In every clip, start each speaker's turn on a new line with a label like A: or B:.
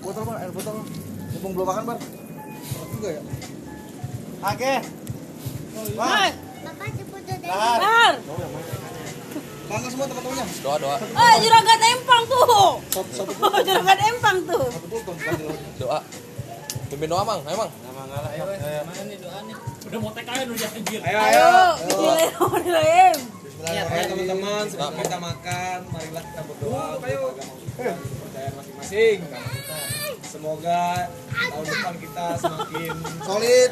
A: botol bar air botol mumpung belum makan bar Enak juga ya
B: Oke. Wah,
C: Hai,
D: Bapak jemput Dede.
B: Tahan.
C: Bar.
A: makan semua teman-temannya
E: doa doa
C: Eh, juragan empang tuh.
A: satu satu
C: Oh, juragan empang tuh.
A: satu botol sekali lagi.
E: doa pimpin doa mang emang
B: Nama ngalah ayo. ayo.
F: Udah mau TKN udah anjir.
A: ayo ayo
C: Ayo, Iya, nilai nomor nilai.
A: Bismillahirrahmanirrahim teman-teman sebelum kita makan marilah kita berdoa untuk agama kita kepercayaan masing-masing semoga tahun depan kita semakin
B: Solid.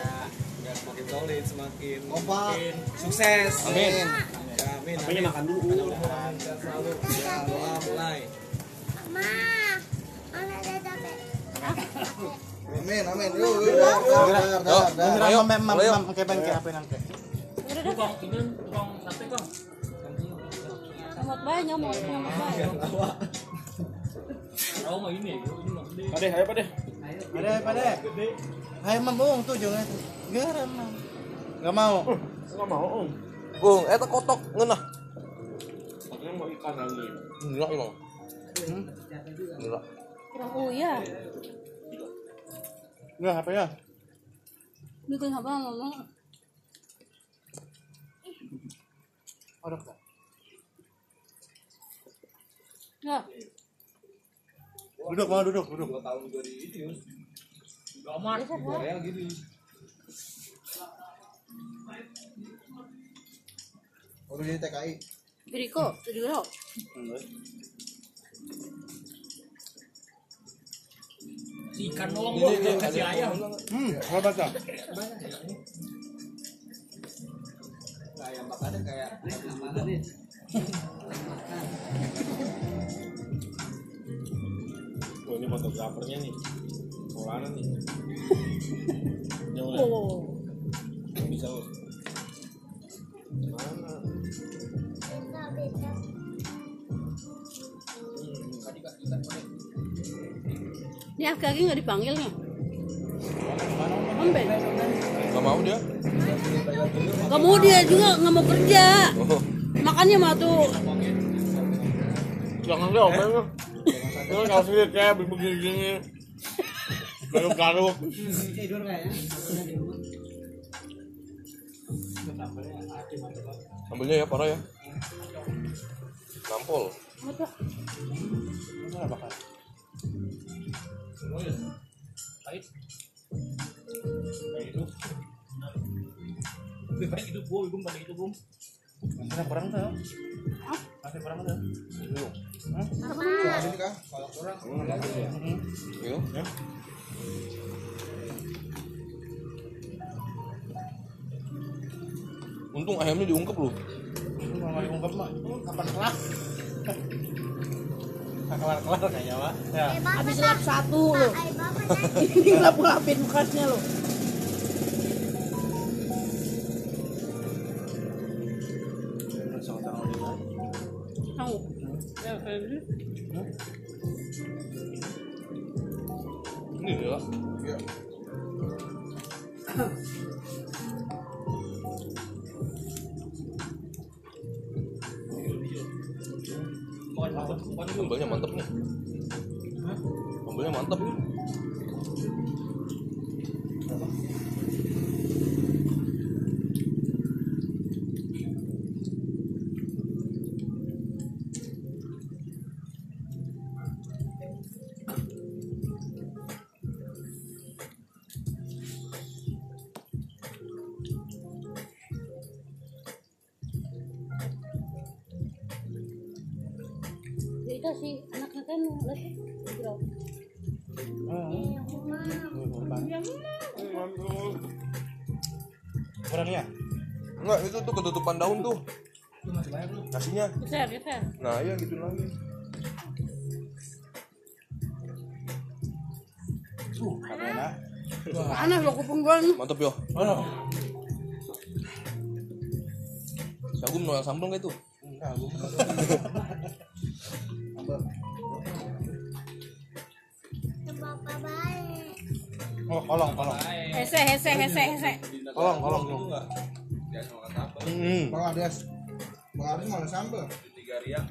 A: ya, semakin solid semakin
B: Kompak.
A: sukses
E: Amin.
A: ya, amin
F: Apanya makan dulu.
A: mudah-mudahan kita selalu ya, doa mulai
D: Ma, mana Dede, Be?
B: Amin amin. Yo yo yo. Dar dar dar.
E: Ayo,
B: Mem mem
E: ayo.
B: mem ke ban ke apa nang ke.
F: Tukang ini tukang sate kong.
C: Nyomot bae, nyomot, nyomot bae.
F: Tahu mah ini, ini mah gede.
E: Pade, ayo pade.
B: Pade pade. Hai mem bung tuh jangan itu. Garam mem. Gak mau.
E: Bung, eta kotok ngeunah.
F: Katanya mau ikan lagi.
E: Gila emang. Gila.
C: Kurang uya.
B: Enggak apa ya?
C: Nukeun habang ngomong.
B: Orok dah.
C: Ya,
B: Duduk mau duduk duduk.
A: dua tahun gue di itu
F: Gak amat.
C: besok
A: di
C: gua.
A: Korea gitu
B: Udah jadi TKI.
C: Biriko, tujuh lo.
F: Si ikan doang gua gak kasih ayam.
B: Hmm, hebat dah.
A: nah yang makannya kayak
F: Tuh ini fotografernya nih. Polana nih.
C: Oh.
F: bisa.
D: Enggak, Beda.
C: Ini Afki lagi nggak dipanggilnya. Amben.
E: Gak mau dia.
C: Gak mau dia juga nggak mau kerja.
E: Oh.
C: Makannya mah tuh.
F: Jangan deh, omen lu. Lu kasih dia kayak bimbu gini. Garuk-garuk.
E: Ambilnya ya parah ya. Nampol.
C: Apa?
B: Enggak bakal.
F: Pahit. Kayak hidup. Lebih baik hidup gua, gua pada hidup gua.
B: Masih kurang tuh. Masih kurang tuh.
D: Ma,
A: ini kan kalau kurang
E: Iya.
F: Ya.
E: Untung ayamnya diungkep
B: Lu
E: lu.
B: mau ngomong ungkep mah, lu kapan kelar? kelar kelar kayaknya pak. Ya.
D: eh, Bapak,
C: Habis
D: nah.
C: lap satu lo.
D: Pak, eh, Bapak, nah.
C: Ini gelap gelapin bekasnya lo. Tahu. Ya, kayak gitu.
E: Ini ya.
A: iya
F: Bukan apa, bukan gua.
E: Ambilnya mantep nih. Ambilnya mantep nih.
C: Ya itu sih anaknya kan lihat bro.
B: Kurangnya?
E: Enggak, itu tuh ketutupan daun tuh. Nasinya.
C: Besar, besar.
E: Nah, iya gitu lagi.
B: Tuh, ada enak.
C: Panas lo kuping gua nih.
E: Mantep yo.
B: Oh,
E: Sagum noel samplung kayak itu.
B: enggak, gua mau.
D: Ke Bapak baik.
B: Oh, kolong, kolong.
C: Hese, hese, hese, hese.
B: Kolong, kolong lu.
A: ya sama kata apa
B: Hmm.
A: Bang Ades. Bang Ades mana sambel? Tiga riak.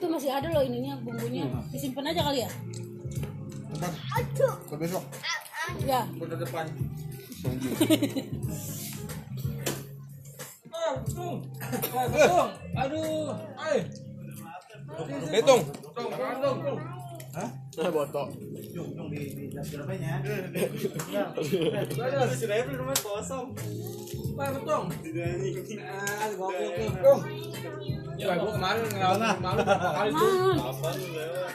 C: Itu masih ada loh ininya bumbunya. Disimpan aja kali ya.
D: Aduh.
E: Sampai besok.
C: Ya.
A: Kota depan.
E: Tunggu.
A: Ah, tung. Ah, tung. Aduh. Ay.
E: Hitung.
A: Tung, kawan, tung, tung.
F: Eh, botok.
A: Terus. Ay, tung. Ah, gokil, tung. Tung. Ya, gua kemarin ngelawan malu berapa kali tuh.
C: Nah.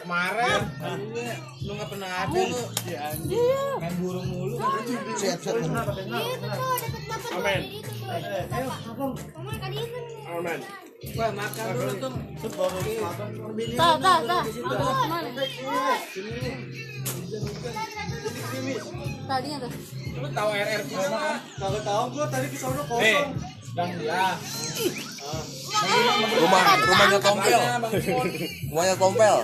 B: Kemarin lu nggak pernah ada lu.
C: Iya, iya.
A: Main burung mulu.
E: Set, set.
D: Itu tuh deket bapak dua
F: Amin.
D: itu tuh deket bapak. Mama tadi eh. itu.
F: Amen.
A: Wah, makan dulu tuh.
C: Tah, tah, tah. Mau ke mana? Tadinya tuh.
A: Lu tahu RR kita nggak?
B: Kalau tahu gua tadi ke sono
A: Eh, Bang Dila.
E: Rumah, rumahnya tompel.
A: Mana Bang Simon?
E: Rumahnya tompel.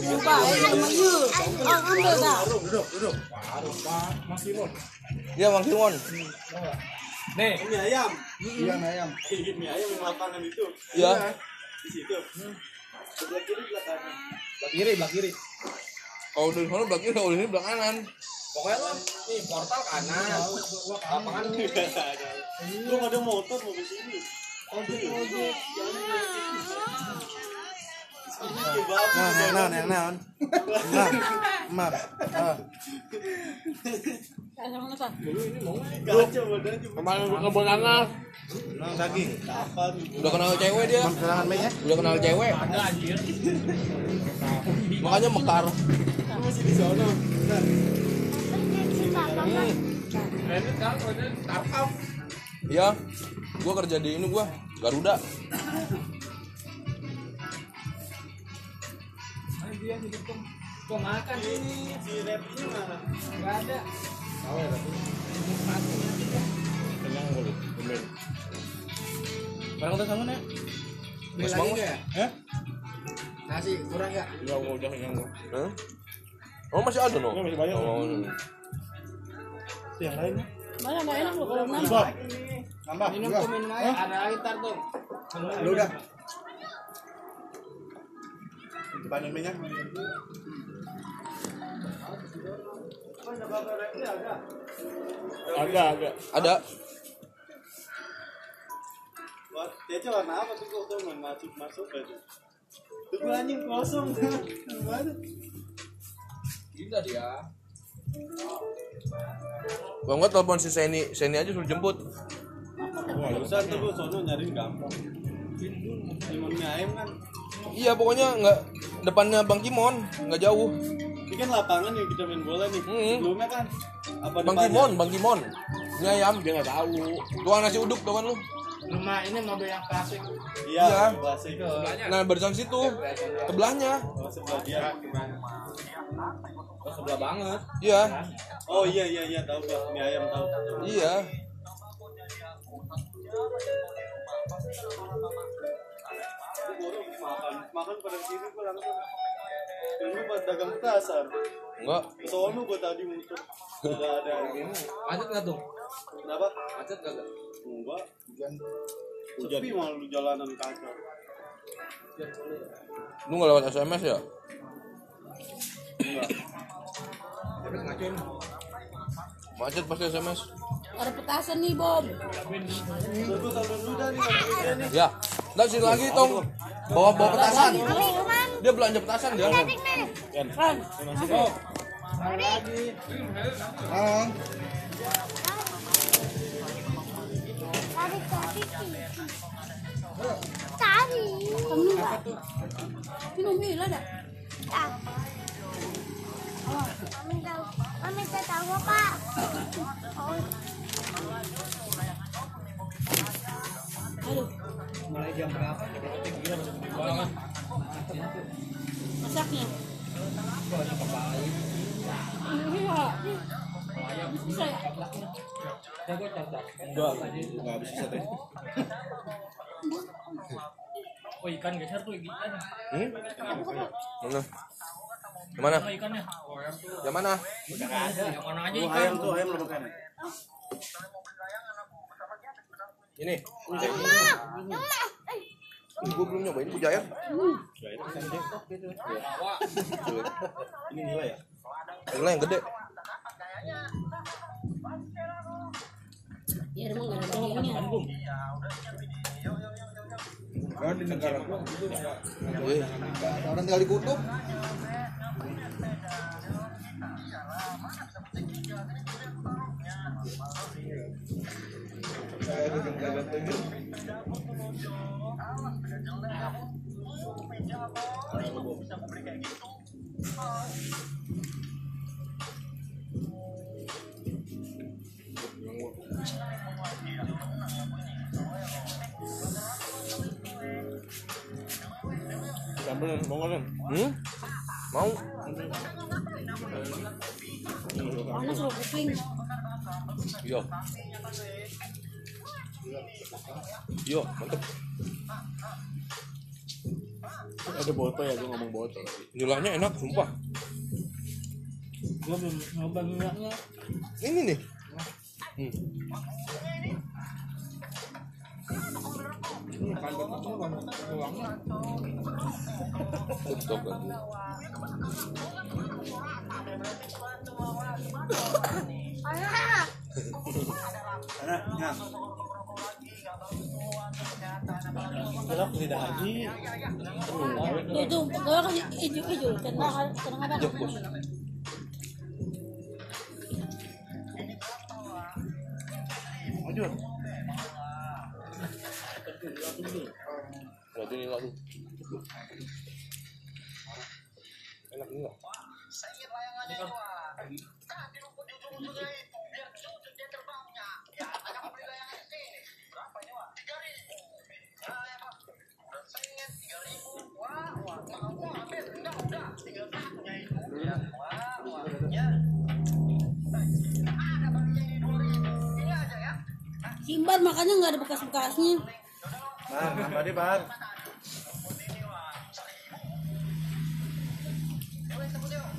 C: Lupa, eh, sama you. Oh, ambil dah.
A: Pak, Mas Simon.
E: Iya, Mang Simon.
A: Nih,
E: Iya, ayam. Iya, ayam yang lapangan itu. Iya.
A: belak kiri, belak kiri.
E: Kalau dari sana belakang kiri, kalau dari sini belakang kanan.
A: Pokoknya lu nih portal kanan. Lapangan
B: Nah, yang naon, yang naon. Mar, mar. Ah,
C: Tah, sama lu, tah.
F: Kemarin ke kebun nanas.
B: naon daging.
E: Udah kenal cewek dia.
B: Cuman kehilangan mic ya.
E: Udah kenal cewek. Makanya mekar. Hmm.
A: Branded kan, branded startup.
E: Iya. Gua kerja di ini gua, Garuda.
A: Mana dia nih tuh? Gua makan ini. Si repnya mana? Enggak ada. Tahu ya tapi.
F: Kenyang mulut. Amen.
B: Barang udah sama nek.
A: Beli lagi enggak ya?
B: Hah?
A: Nasi kurang enggak?
F: Ya gua udah kenyang gua.
E: Hah? Oh masih ada no?
F: Ini masih banyak.
E: Oh,
B: Yang lainnya.
C: Mana nggak enak lu kalau nambah.
B: Sob. Nambah.
A: Minum
B: dua.
A: tuh minum aja. Ada lagi ntar tuh.
B: Lu udah. Dibanin mic ya.
F: Ada, ada.
E: ada.
G: Dia warna apa tuh kok tuh masuk masuk aja. Tuh gua anjing kosong. Gimana?
A: Gila dia.
E: Bang gua telepon si Seni, Seni aja suruh jemput.
G: Bisa tuh gua sono nyari gampang. Limonnya ayam kan.
E: Iya pokoknya nggak depannya Bang Kimon nggak jauh.
G: Ini kan lapangan yang kita main bola nih.
E: Hmm.
G: Sebelumnya kan apa
E: Bang
G: depannya?
E: Kimon, Bang Kimon. Ini ayam.
F: Dia nggak tahu.
E: Tukang nasi uduk tuh kan lu.
A: Rumah ini mobil yang klasik.
G: Iya,
E: Iya.
G: plastik.
E: Nah barusan situ, sebelahnya.
G: Oh, sebelah dia.
A: Oh, sebelah banget.
E: Iya,
G: Oh iya iya iya tahu gua. Mie ayam tahu.
E: iya.
G: Gua baru makan makan pada sini gua langsung. Ini pas dagang pasar.
E: Enggak.
G: Sono gua tadi muter. Gak ada.
A: Macet nggak tuh?
G: Kenapa?
A: Macet kagak?
G: Enggak. Hujan. Sepi malu jalanan kacau.
E: Lu nggak lewat SMS ya?
G: Enggak.
A: Tapi ngacuin.
E: Macet pasti SMS.
C: Ada petasan nih, Bob.
G: Udah gua tahu dulu dah nih. sampai sini nih.
E: Ya. Nah sini lagi tong. Bawa bawa petasan.
D: Mami, Mami,
E: Dia belanja petasan dia.
D: cantik nih.
C: Kan.
A: Oh, ada lagi.
D: Tarik kopi. Tarik.
C: Penuh, Pak. Minum gila dah.
D: Ah. Oh, Mami tahu. Mami tak tahu apa. Oh,
C: Aduh,
A: Mulai jam berapa? Kita gila masuk di bawah.
C: masaknya. Iya. Bisa ya?
F: Enggak, enggak habis sate.
A: Oh ikan geser tuh ikan.
E: Hmm? Mana? Yang mana?
A: Ikannya.
E: Yang mana?
A: Yang mana aja
F: Oh, ayam tuh, ayam lebakan.
E: Ini.
D: yang mana? Yang mana? Eh,
E: Ih, gua belum nyobain ya. pujayan.
G: Ini nilai ya?
E: Nilai yang gede.
C: Ya emang nggak ada bagiannya.
A: Kalau di negara gua gitu kayak
E: Wih. Orang tinggal di kutub.
A: saya ada genggaman tuh.
F: Sambil mau nggak, Nen?
E: Hmm? Mau?
C: Panas loh kuping.
E: Iya. Iya, mantep.
F: Ada botol ya, gue ngomong botol.
E: Nilainya enak, sumpah.
B: Gue belum nyoba minyaknya.
E: Ini nih. Hmm.
A: Bukan betul, bukan uangnya.
E: Tutup lagi.
D: Ah,
G: Karena, nah.
B: Belok lidah lagi.
C: Tuh tuh pegawai kan hijau-hijau. Kena kena apa?
E: Jok, bos. Berarti nilai lu. Enak nilai.
C: Simbar makanya nggak ada bekas-bekasnya.
G: Bang, nambah deh, Bang.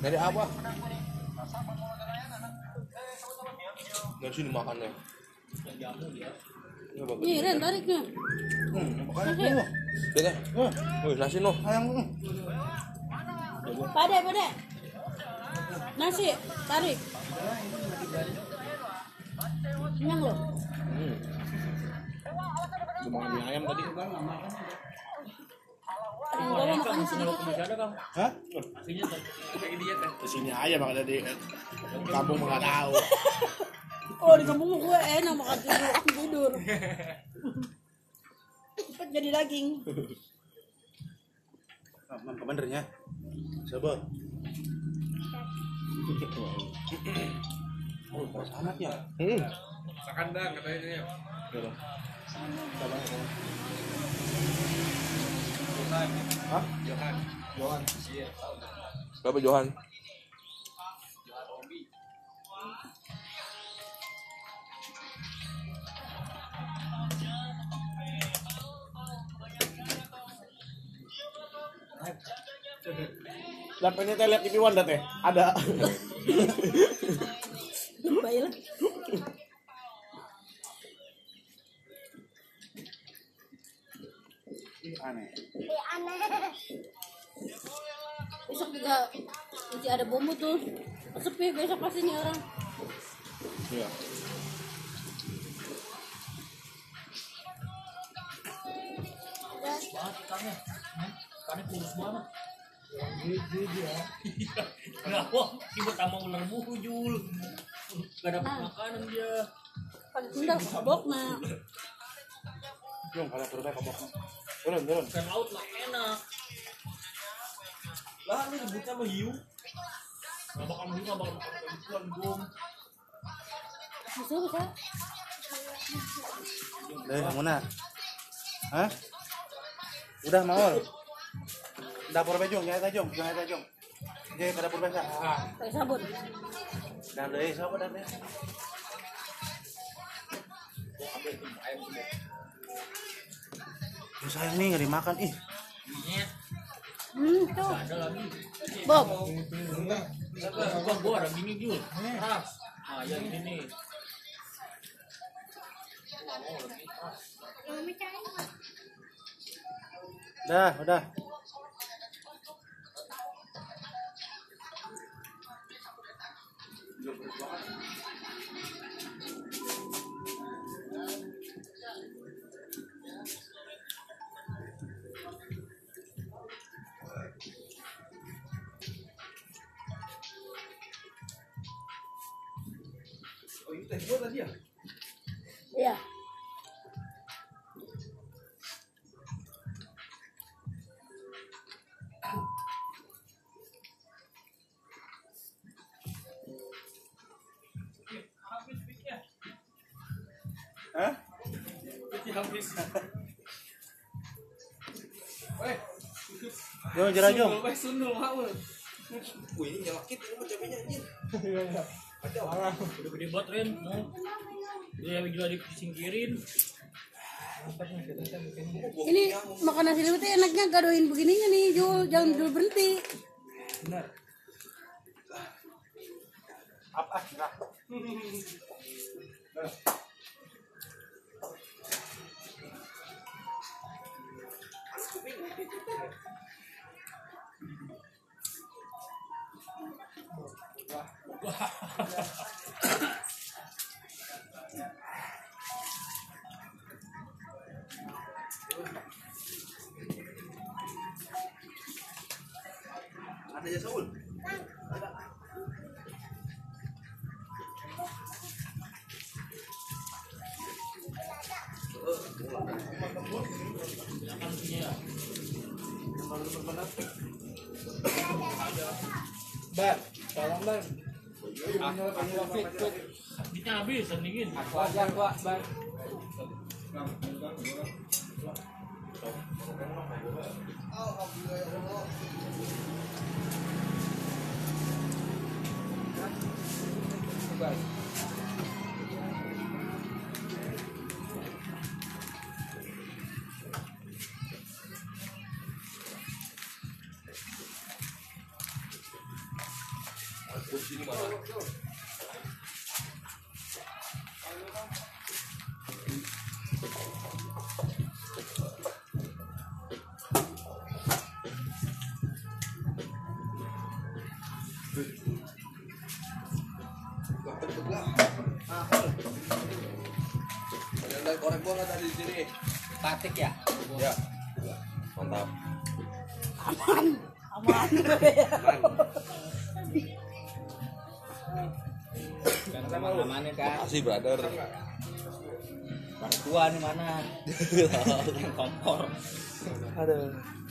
E: Dari apa? Dari sini makannya. Ini bagus.
C: Nih Ren tariknya. Oke.
E: Dek, eh. Wih, nasi noh.
B: Ayang.
C: Pade pade. Nasi tarik. Kenyang loh.
F: Gue mau ngambil Hmm. ayam tadi.
C: Yang bawa makannya sedikit.
F: Hah? Di sini aja makan di kampung mah nggak tahu.
C: Oh di kampung gue enak makan tidur tidur. Cepet jadi daging.
G: Aman, komandernya. Coba. Oh, keras amat ya.
E: Hmm.
A: Sakandang katanya ini. Johan.
G: Hah?
A: Johan. Johan. Iya.
E: Berapa Johan?
F: Dan pengen teh lihat TV One dah teh. Ada.
C: Lebay lah.
G: Ih, Aneh.
D: eh, aneh.
C: Besok juga masih ada bumbu tuh. Sepi besok pastinya orang.
F: Iya.
C: Kan sendal kabok nah.
F: Jom, kalau perutnya kapok. Turun, turun.
A: Lah lu ributnya sama hiu.
C: Musuh kan.
B: Dari eh, mana? Hah? Udah mau. Dapur bejong, nyai tajong, nyai tajong. Jadi pada dapur bejong.
C: Pakai sabun.
B: Dan dari siapa dan dari? Oh, sayang nih nggak dimakan ih.
C: Hmm tuh. Bob.
D: Mami cari.
B: Udah, udah.
C: Iya.
B: Hah? Yo, jera jom.
E: Wih, nyelakit ini mah cabenya anjir.
H: Udah gede banget Ren mau. Dia yang juga disingkirin
C: Ini makan nasi liwet tuh enaknya gadoin begininya nih, Jul. Jangan dulu berhenti.
B: Apa? Nah.
E: Ada ya Saul.
A: Ban, tolong ban.
H: Sakitnya habis sendingin
A: Aku aja, aku ban.
E: Ada yang dari korek gua nggak tadi di sini?
A: Batik ya?
E: Ya. Mantap.
C: Aman.
A: Aman kan?
E: Kasih brother.
A: Mertua nih mana?
E: Aduh.